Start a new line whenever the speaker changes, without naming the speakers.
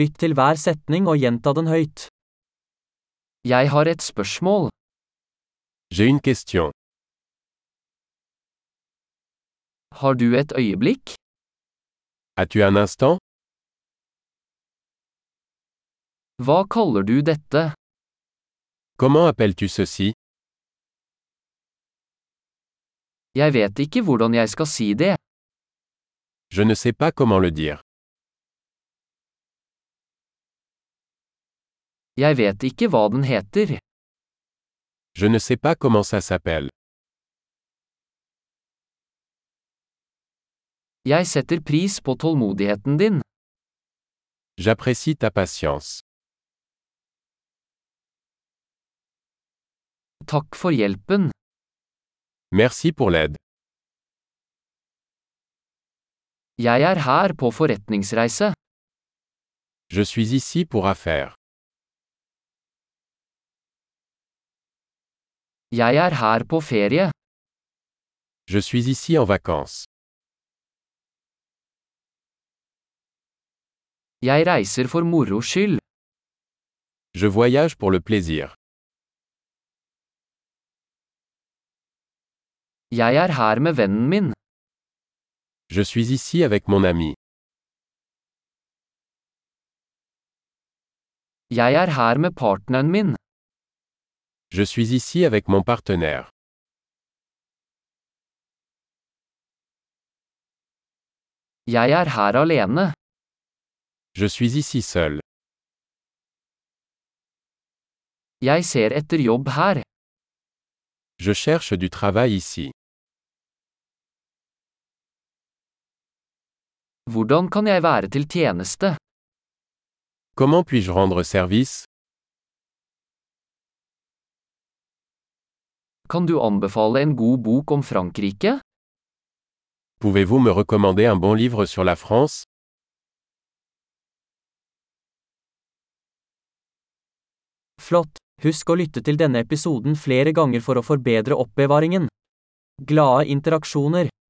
Lytt til hver setning og gjenta den høyt. Jeg har et spørsmål.
J'ai une question.
Har du et øyeblikk?
As-tu un instant
Hva kaller du dette?
Comment appelles-tu ceci
Jeg vet ikke hvordan jeg skal si det.
Je ne sais pas comment le dire.
Jeg vet ikke hva den heter.
Je ne sais pas comment ça s'appelle.
Jeg setter pris på tålmodigheten din.
J'apprécie ta patience.
Takk for hjelpen.
Merci pour l'aide.
Jeg er her på forretningsreise.
Je suis ici pour affaires.
Jeg er her på ferie.
Je suis ici en vacances.
Jeg reiser for moro skyld.
Je voyage pour le plaisir.
Jeg er her med vennen min.
Je suis ici avec mon ami.
Jeg er her med partneren min.
Je suis ici avec mon partenaire.
Jeg er her alene.
Je suis ici seul.
Jeg ser etter jobb her.
Je cherche du travail ici.
Hvordan kan jeg være til tjeneste?
Comment puis-je rendre service
Kan du anbefale en god bok om Frankrike?
Pouvez-vous me recommander un bon livre sur la France
Flott! Husk å lytte til denne episoden flere ganger for å forbedre oppbevaringen. Glade interaksjoner!